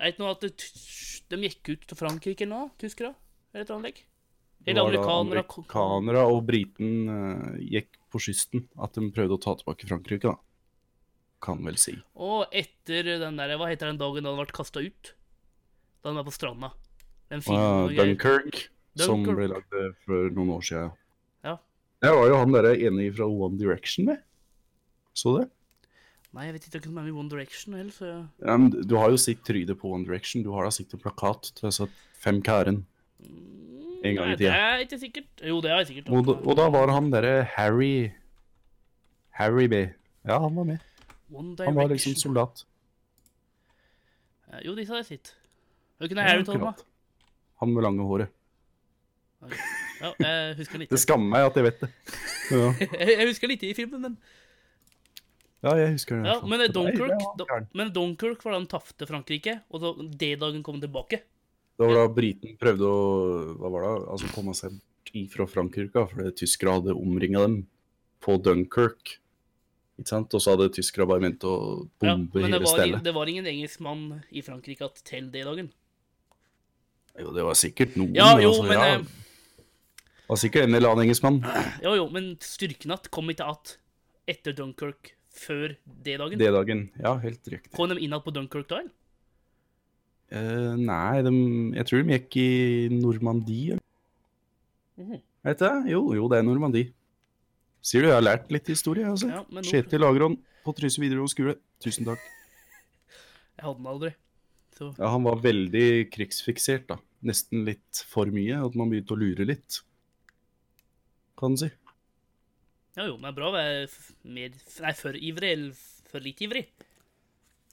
Jeg vet noe at det, t- de gikk ut til Frankrike eller noe, tyskere, eller et eller annet. lik. Det Eller var da amerikanere. ko- Amerikanere og briten eh, gikk på kysten. At de prøvde å ta tilbake Frankrike, da. Kan vel si. Og etter den der, hva heter den dagen da han ble kasta ut? Da han var på stranda. Den Og, ja, filmen og greier. Dunkirk, som Dunkirk. ble lagd eh, for noen år siden. Ja. Der var jo han der enig fra One Direction med. Så det? Nei, jeg vet ikke. Det er ikke noe med i One Direction heller, så Ja, men du har jo sitt tryde på One Direction. Du har da sikt en plakat til disse fem karen. En gang Nei, i det tida. er ikke sikkert. Jo, det er jeg sikkert. Og, da- og da var han derre Harry Harry B. Ja, han var med. One Han var liksom Direction. soldat. Eh, Jo, disse har jeg sett. Hvilken Ja, er Harry Tolma? akkurat. Han med lange håret. Ja, jeg husker litt. Det skammer meg at jeg <laughs> vet det. Ja, Jeg husker litt i filmen, men ja jeg husker det. i ja, hvert fall. Men eh, Nei, det Dunkirk, var- da- men Dunkirk var da han tapte Frankrike, og så D-dagen kom tilbake. Det var da briten prøvde å hva var det, altså komme seg bort ifra Frankrike, da, fordi tyskere hadde omringa dem på Dunkirk. Ikke sant? Og så hadde tyskere bare ment å Ja, bombe men det hele var, stedet. det var ingen engelskmann i Frankrike at til D-dagen. Jo, det var sikkert noen. Ja, men jo, altså, men ja. eh, Det var sikkert en eller annen engelskmann. Jo, jo, men styrken att kom ikke att etter Dunkirk før D-dagen. Det dagen. Ja, helt riktig. Kom de inn att på Dunkirk da? eller? Eh, nei, dem- jeg tror de gikk i Normandie. eller? Mhm. Vet du det? Jo, jo, det er Normandie. Sier du jeg har lært litt historie? Altså. Ja, men nå- Kjetil Agron på Trysil videregående skole. Tusen takk. Jeg hadde den aldri. Så Ja, han var veldig krigsfiksert, da. Nesten litt for mye. At man begynte å lure litt, kan man si. ja, jo, men det er bra å være f- mer Nei, for ivrig eller f- for litt ivrig.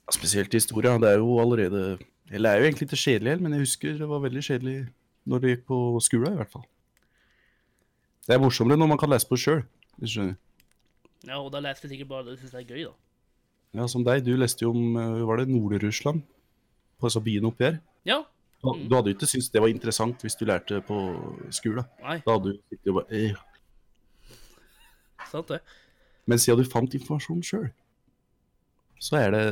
Ja, spesielt historie. Det er jo allerede Eller det er jo egentlig ikke kjedelig helt, men jeg husker det var veldig kjedelig når det gikk på skolen, i hvert fall. Det er morsommere når man kan lese på sjøl, hvis du skjønner. Ja, og da leste jeg sikkert bare det du syns er gøy, da. Ja, som deg. Du leste jo om eh, var det Nord-Russland, på disse byene oppi her. Ja. Du du hadde jo ikke syntes det var interessant hvis du lærte på skolen. Nei. Da hadde du sittet og bare eh. Sant det. Men siden du fant informasjon sjøl, så er det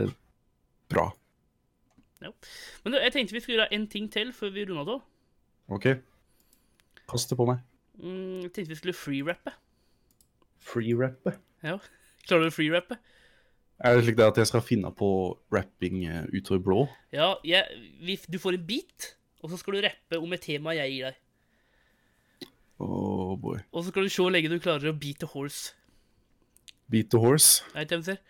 bra. Ja. Men du, jeg tenkte vi skulle gjøre en ting til før vi runda av. OK? Kast det på meg. Mm, jeg tenkte vi skulle freerappe. Free-rappe. Ja. <laughs> Klarer du å freerappe? Er det slik det at jeg skal finne på rapping eh, utover blå? Ja, jeg, vi, du får en beat, og så skal du rappe om et tema jeg gir deg. Oh boy. Og så skal du se hvor lenge du klarer å beat a horse. Beat the horse. Er det det de ser?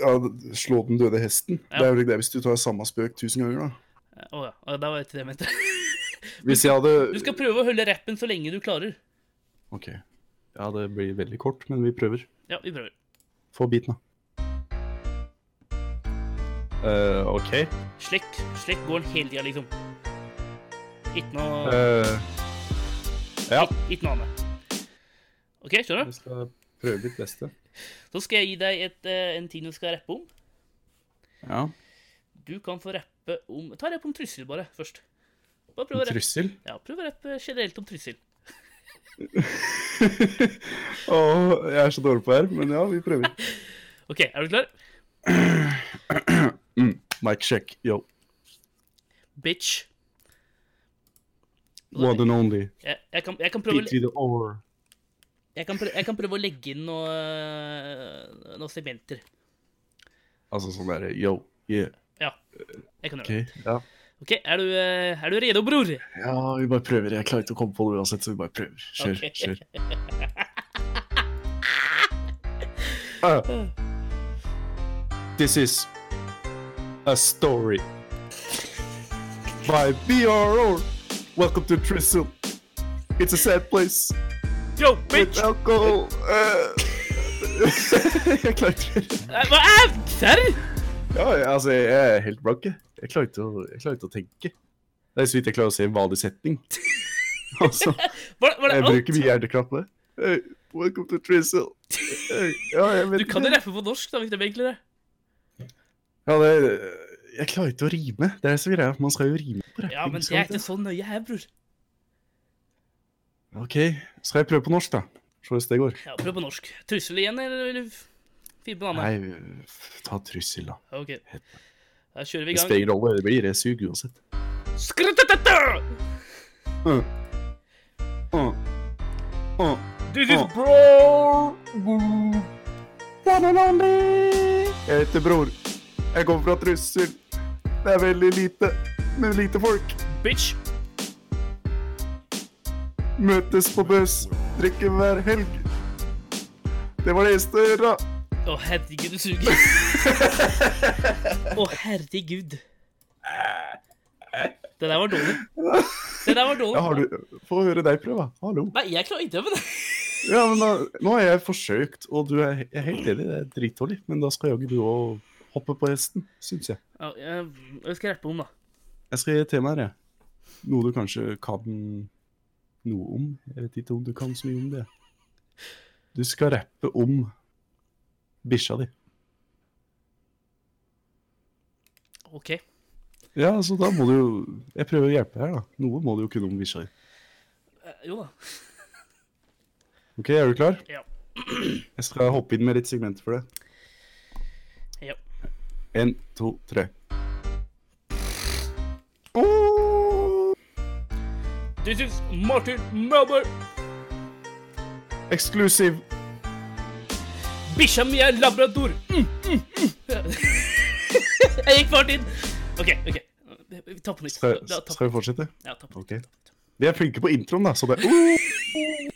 Ja, d- slå den døde hesten. Ja. Det er jo slik det er hvis du tar samme spøk tusen ganger, da. Å ja. ja, da var det ikke det jeg mente. <laughs> Hvis jeg Du hadde skal prøve å holde rappen så lenge du klarer. OK. Ja, det blir veldig kort, men vi prøver. Ja, vi prøver. Få biten, da. Eh, OK. Slik, slik går den hele tida, liksom. Ikke noe Eh, ja. ik- Ikke noe annet. OK, skjønner du? Jeg skal prøve mitt beste. Så skal jeg gi deg et, eh, en ting du skal rappe om. Ja. Du kan få rappe om Ta rapp om Trysil, bare, først. Bare prøv å rappe. Trussel. Ja, prøv å rappe generelt om Trysil. Åh, jeg er så dårlig på her, men ja, vi prøver. OK, er du klar? Mic check, yo. Bitch. One and only. Jeg, jeg, kan, jeg, kan prøve, å- Beat you the over. jeg, kan prøve, jeg kan prøve å legge inn noe, eh, noen segmenter. Altså sånn derre yo, e yeah. Ja. Jeg kan gjøre OK. det. Ja. OK, er du, eh, er du redo, bror? ja, vi bare prøver. Jeg klarer ikke å komme på det uansett, så vi bare prøver. Kjør, Ok. kjør. <laughs> Ah. this is a story by BRO. Welcome to Tristle. It's a sad place. Yo, bitch! With alcohol. eh. <laughs> jeg klarer ikke Nei, Eh, Hva er Serr? Ja, jeg- altså, jeg er helt blank, jeg. Jeg klarer ikke å, jeg klarer ikke å tenke. Det er så vidt jeg klarer å se en vanlig <laughs> setning. altså, Var, var det jeg alt? bruker mye hjerteklapp med. Hey, welcome to Tristle. Hey, ja, jeg vet Du kan jo ikke. rappe på norsk, da, hvis det blir enklere. Ja, det, jeg klarer ikke å rime. Det er så greia. Man skal jo rime på rapping. Ja, men det skal er man ikke så nøye her, bror. OK, skal jeg prøve på norsk, da? Se hvis det går. Ja, Prøv på norsk. Trussel igjen, eller vil du finne på noe annet? Nei, f- ta Tristle, da. OK. Da kjører vi i gang. Det spiller ingen rolle. Det blir jeg suger uansett. Skrutatata! Uh. Uh. Uh. This is Ah. bro! Jeg heter Bror. Jeg kommer fra Trussel. Det er veldig lite, men lite folk. Bitch! Møtes på buss, drikker hver helg. Det var det eneste å gjøre. Å, herregud, du suger. Å, herregud. Det der var dårlig. Det der var dårlig. Ja, har du... Få høre deg prøve. Hallo. Nei, jeg klarer ikke det. Ja, men da, nå har jeg forsøkt, og du er, jeg er helt enig, det er dritdårlig. Men da skal jaggu du òg hoppe på hesten, syns jeg. Ja, jeg, jeg skal rappe om, da. Jeg skal gi et tema her, jeg. Noe du kanskje kan noe om. Jeg vet ikke om du kan så mye om det. Du skal rappe om bikkja di. OK. Ja, så da må du jo Jeg prøver å hjelpe her, da. Noe må du jo kunne om bikkja di. Eh, Jo da. OK, er du klar? Ja. Jeg skal hoppe inn med litt segmenter for det. Ja. Én, to, tre. This is Martin Melber. Exclusive. Bikkja mi er labrador. Mm, mm, mm. <laughs> jeg gikk fart inn. OK, OK. Vi tar på nytt. Skal, Ja, ta på skal vi nytt. fortsette? Ja, ta på Ok. Vi er flinke på introen, da, så det Uh!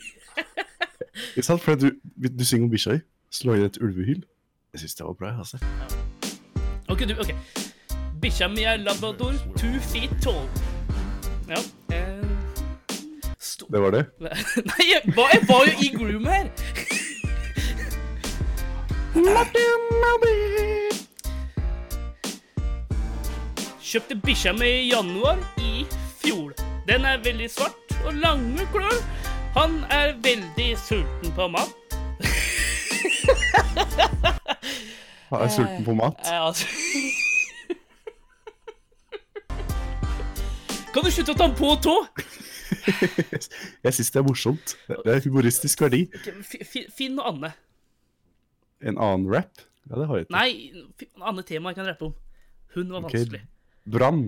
Ikke sant? For du, du synger om bikkja di, så lager jeg et ulvehyl. Jeg syns det var bra. altså. OK, du, ok. Bikkja mi er labrador, two feet tall. Ja. eh, Sto... Det var det. <laughs> Nei, jeg var, jeg var jo i groom her. Kjøpte bikkja mi i januar i fjor. Den er veldig svart og lange klør. Han er veldig sulten på mat. Jeg er sulten på mat. Eh, altså. Kan du slutte å ta den på tå? <laughs> Jeg syns det er morsomt. Det det er humoristisk verdi. Ok, men fi- fi- Finn noe annet. En annen rap? Ja, det har jeg ikke. Nei, fi- noe annet tema jeg kan rappe om. Hun var Ok, vanskelig. Brann.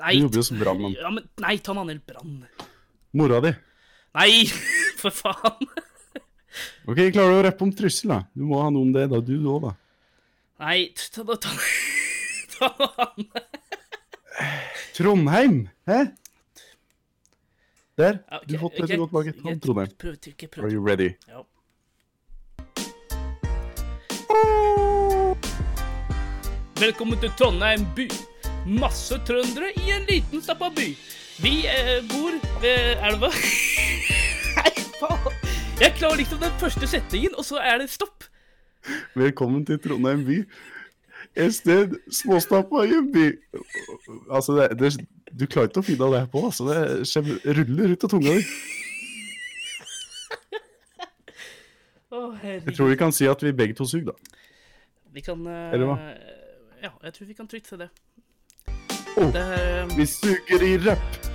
Nei, Du jobber jo som brannmann. Ja, men, nei, ta en annen brann. Mora di. Nei, <laughs> for faen. OK, klarer du å rappe om trussel, da? Du må ha noe om det, da. Du òg, da. Nei, t- ta, ta, <laughs> ta, ta noe annet. Trondheim! Hæ? Der. Ja, ok, Du fått et ok, godt laget navn, ok, Trondheim. Prøv, trykk, prøv. Are you ready? Ja. Velkommen til Trondheim by. Masse trøndere i en liten, stappa by. Vi eh, bor ved elva. <laughs> Nei, faen! Jeg klarer liksom den første setningen, og så er det stopp. Velkommen til Trondheim by. Et sted småstappa i en by. Altså, det, det, du klarer ikke å finne av det her på. Altså, det skjem- ruller ut av tunga di. Å, Jeg herregud. tror vi kan si at vi begge to suger, da. Vi kan eh, Eller hva? Ja, jeg tror vi kan trygt se det. Å, Det er eh, vi suger i rapp,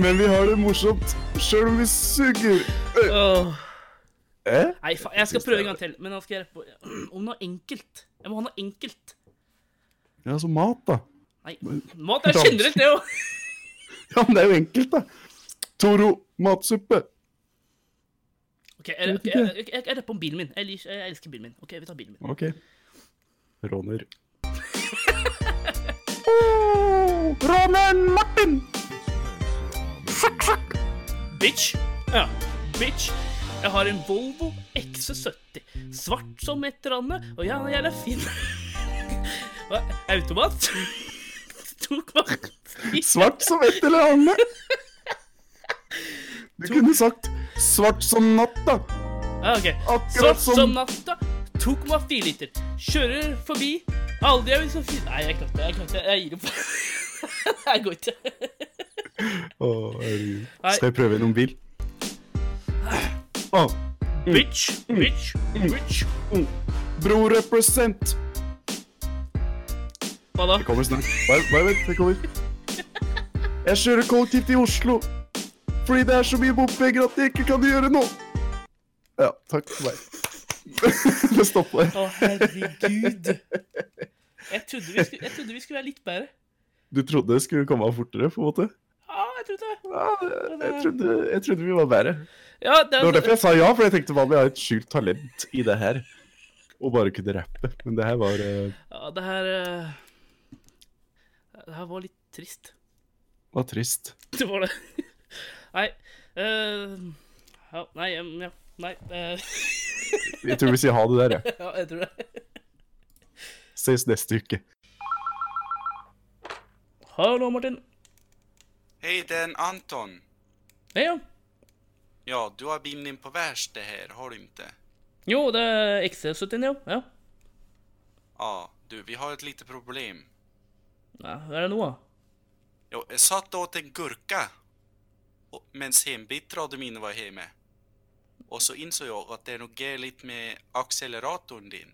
men vi har det morsomt sjøl om vi suger. åh. Eh? Nei, faen, jeg skal prøve en gang til, men nå skal jeg rappe <clears throat> om noe enkelt. Jeg må ha noe enkelt. Ja, så mat, da. Nei, mat er generelt, det jo. Ja, men det er jo enkelt, da. Toro matsuppe. Ok, jeg, jeg, jeg, jeg, jeg rapper om bilen min. Jeg, lik- jeg elsker bilen min. Ok, vi tar bilen min. OK. Råner. Oh, råneren Martin! Bitch! Ja, bitch. Jeg har en Volvo XC70. Svart som et eller annet, og ja, jeg er fin. <laughs> Hva? Automat? <laughs> Tok vakt. Svart som et eller annet. Du kunne sagt svart som natta. Ja, Ah, ok. Akkurat Svart som- som natta, 2,4 liter. Kjører forbi. Aldri er vi så fine Nei, jeg klarte det. Jeg klarte det. Jeg gir opp. <laughs> Det her går ikke. Å, herregud. Nei. Skal jeg prøve gjennom bil? Å, Bitch, bitch, bitch. bro represent. Hva da? Det kommer snart. Bare, bare vent, det kommer. Jeg kjører kollektivt i Oslo. Fordi det er så mye bompenger at jeg ikke kan gjøre noe. Ja, takk for meg. <laughs> Det stoppa der. Å, herregud. Jeg trodde, vi skulle, jeg trodde vi skulle være litt bedre. Du trodde det skulle komme av fortere, på en måte? Ja, jeg trodde det. Ja, jeg- jeg trodde, jeg trodde vi var bedre. Ja, det, Det var derfor jeg sa ja, for jeg tenkte vanlig jeg har et skjult talent i det her. Og bare kunne rappe. Men det her var eh, ja, det her eh, Det her var litt trist. <laughs> var trist. Det var det. Nei eh, <laughs> ja, Nei, em, ja. Nei. eh. Jeg tror vi sier ha det der, jeg. ja, jeg tror det. Ses neste uke. Hallo, Martin. Hei, det er en Anton. Hej ja. Ja, du har bilen din på verkstad här, har du inte? Jo, det är XC79, ja. ja. Ja, du, vi har ett litet problem. Ja, hva er det nå? da? Jo, jag satt och åt en gurka. Medan hembittrade min var hemma. Och så insåg jag att det är något galet med acceleratorn din.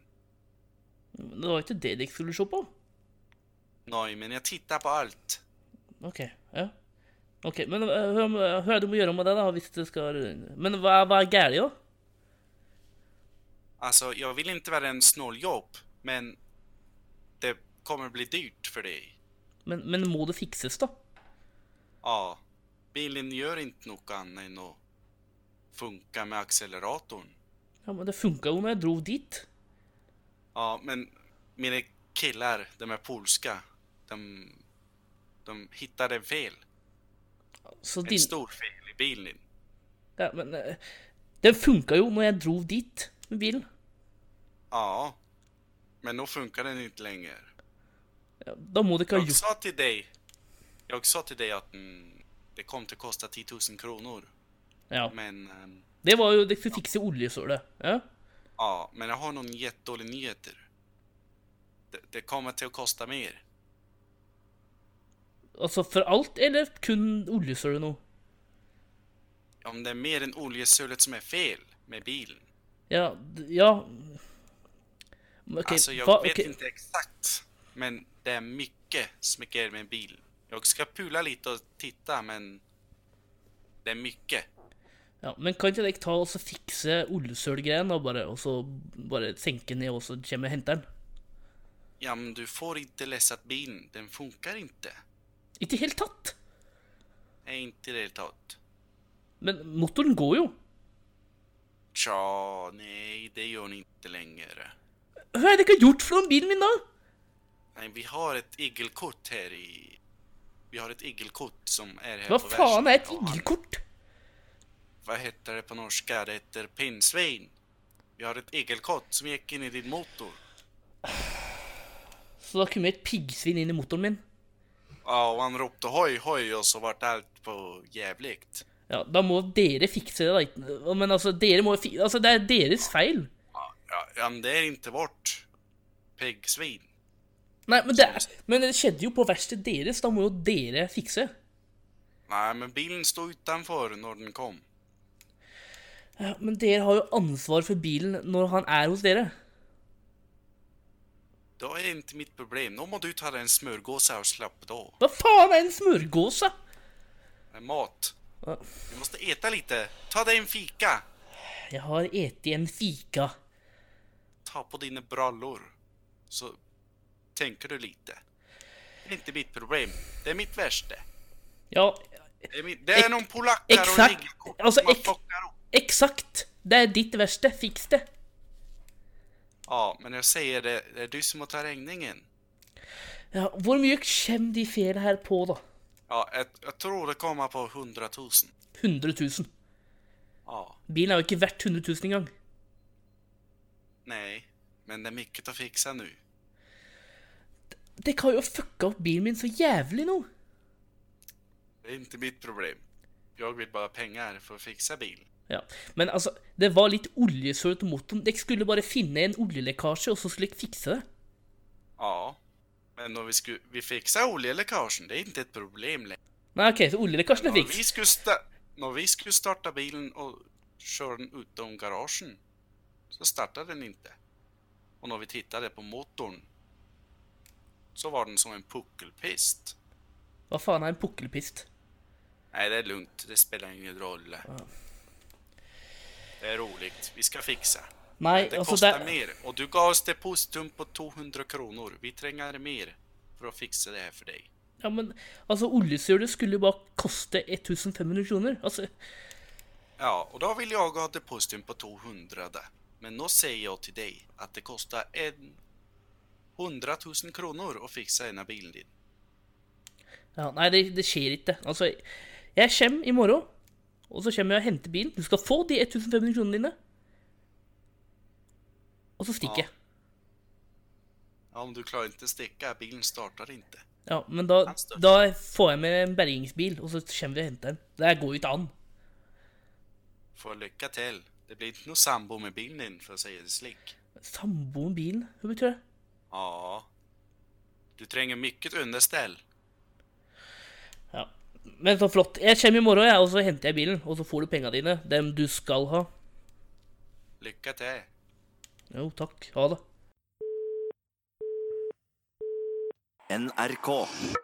Det var ikke det dere skulle se på? Nej, men jag tittar på allt. Ok, ja. Ok, men eh, hva hva er det du må gjøre med det, da? hvis det skal... Men hva, hva er gærent, da? Alltså, jag vill inte vara en snåljåp, men det kommer bli dyrt för dig. Men, men må det fikses, da? Ja, bilen gör inte något annat än att funka med acceleratorn. Ja, men Det funka jo når jeg dro dit. Ja, men mina killar, de är polska. De, de hittade en fel. Så en din- stor fel i bilen din. Ja, men eh, Den funka jo når jeg dro dit med bilen. Ja, men då funkar den inte längre. Ja, da må dere ha Jag gjort sa till dig, jag sa till dig att mm, det kommer att kosta 10 000 kronor. Ja. Men, ehm, Det var jo Dere skulle fikse oljesølet. Ja? ja, men jag har någon jättedålig nyheter. Det, det kommer till att kosta mer. Altså for alt, eller kun oljesølet nå? Om det är mer än oljesölet som är fel med bilen. Ja, d- ja Men ok, alltså jag hva- vet ok, inte exakt, men det är mycket som är grejer med en bil. Jag ska pula lite och titta, men det är mycket. Ja, men kan ikke dere ta og så fikse oljesølgreien, da, bare, og så bare senke ned, og så kommer henteren? Ja, men du får inte läsa bilen, den funkar inte. Inte helt tatt? Nej, inte helt tatt. Men motoren går jo. Tja, nej, det gör ni inte längre. Hva er det dere har gjort for noe med bilen min, da? Nej, vi har ett igelkort här i... Vi har ett igelkort som är här Hva på faen er et verkstaden. igelkort? Vad heter det på norska? Det heter pinnsvin. Vi har ett igelkott som gick in i din motor. Så da kommer et piggsvin inn i motoren min. Ja, och han ropte hoj hoj och så vart allt på jävligt. Ja, da må dere fikse det, da. Men altså, dere må fi... Altså, det er deres feil. Ja, ja, men det är inte vårt piggsvin. Nei, men det, er... men det skjedde jo på verkstedet deres. Da må jo dere fikse. Nej, men bilen stod utanför när den kom. Ja, men dere har jo ansvar for bilen når han er hos dere. Då är det inte mitt problem. Då må du ta dig en smörgåsa och slapp då. Hva faen er en smørgåse? En mat. Du måste äta lite. Ta dig en fika. Jeg har eti en fika. Ta på dina brallor. Så tänker du lite. Det är inte mitt problem. Det är mitt värsta. Ja, Det är, mitt, det är Ek- någon polack här och exakt. ligger Altså, ek, exakt. Det er ditt verste. Fiks det. Ja, men jag säger det, det är du som må ta regningen. Ja, hvor mye kommer de feilene her på, da? Ja, jag, jag tror det kommer på 100 000. 100 000. Ja, Bilen er jo ikke verdt 100 000 engang. nej. Men det är mycket att fixa nu. Dere har jo fucka opp bilen min så jævlig nå. Det är inte mitt problem. Jag vill bara ha pengar för att fixa bil. Ja, Men altså, det var litt oljesøl til motoren. Dere skulle bare finne en oljelekkasje, og så skulle dere fikse det. Ja. Men om vi, skulle, vi fixar oljeläckagen, det är inte ett problem längre. Nei, OK, så oljelekkasjen er Når vi fiks. skulle, sta når vi skulle starta bilen och köra den utom garagen så startade den inte. Och när vi tittade på motorn så var den som en puckelpist. Hva faen er en pukkelpist? Nej, det är lugnt. Det spelar ingen roll. Det är roligt. Vi ska fixa. Nei, altså, Det det kostar er mer. Och du gav oss depositum på 200 kronor. Vi tränger mer för att fixa det här för dig. Ja, men altså, oljesølet skulle jo bare koste 1500 kroner. Altså, Ja, och då vill jag ha depositum på 200 där. Men då säger jag till dig att det kostar en 100 000 kronor att fixa ena bilen din. ja, nei, det, det skjer ikke. Altså, jeg kommer i morgen, og så kommer jeg og henter bilen. Du skal få de 1500 kronene dine. Og så stikker jeg. Ja, men du klarar inte sticka, bilen startar inte. Ja, men da, da får jeg med en bergingsbil, og så kommer vi og henter den. Det går jo ikke an. Får lycka till. Det blir inte någon sambo med bilen din för att säga det slick. Samboer med bilen, hva betyr det? Ja. Du tränger mycket underställ. Ja. Men så flott. Jeg kommer i morgen, jeg, og så henter jeg bilen. Og så får du penga dine. Dem du skal ha. Lycka till. Jo, takk. Ha det. NRK.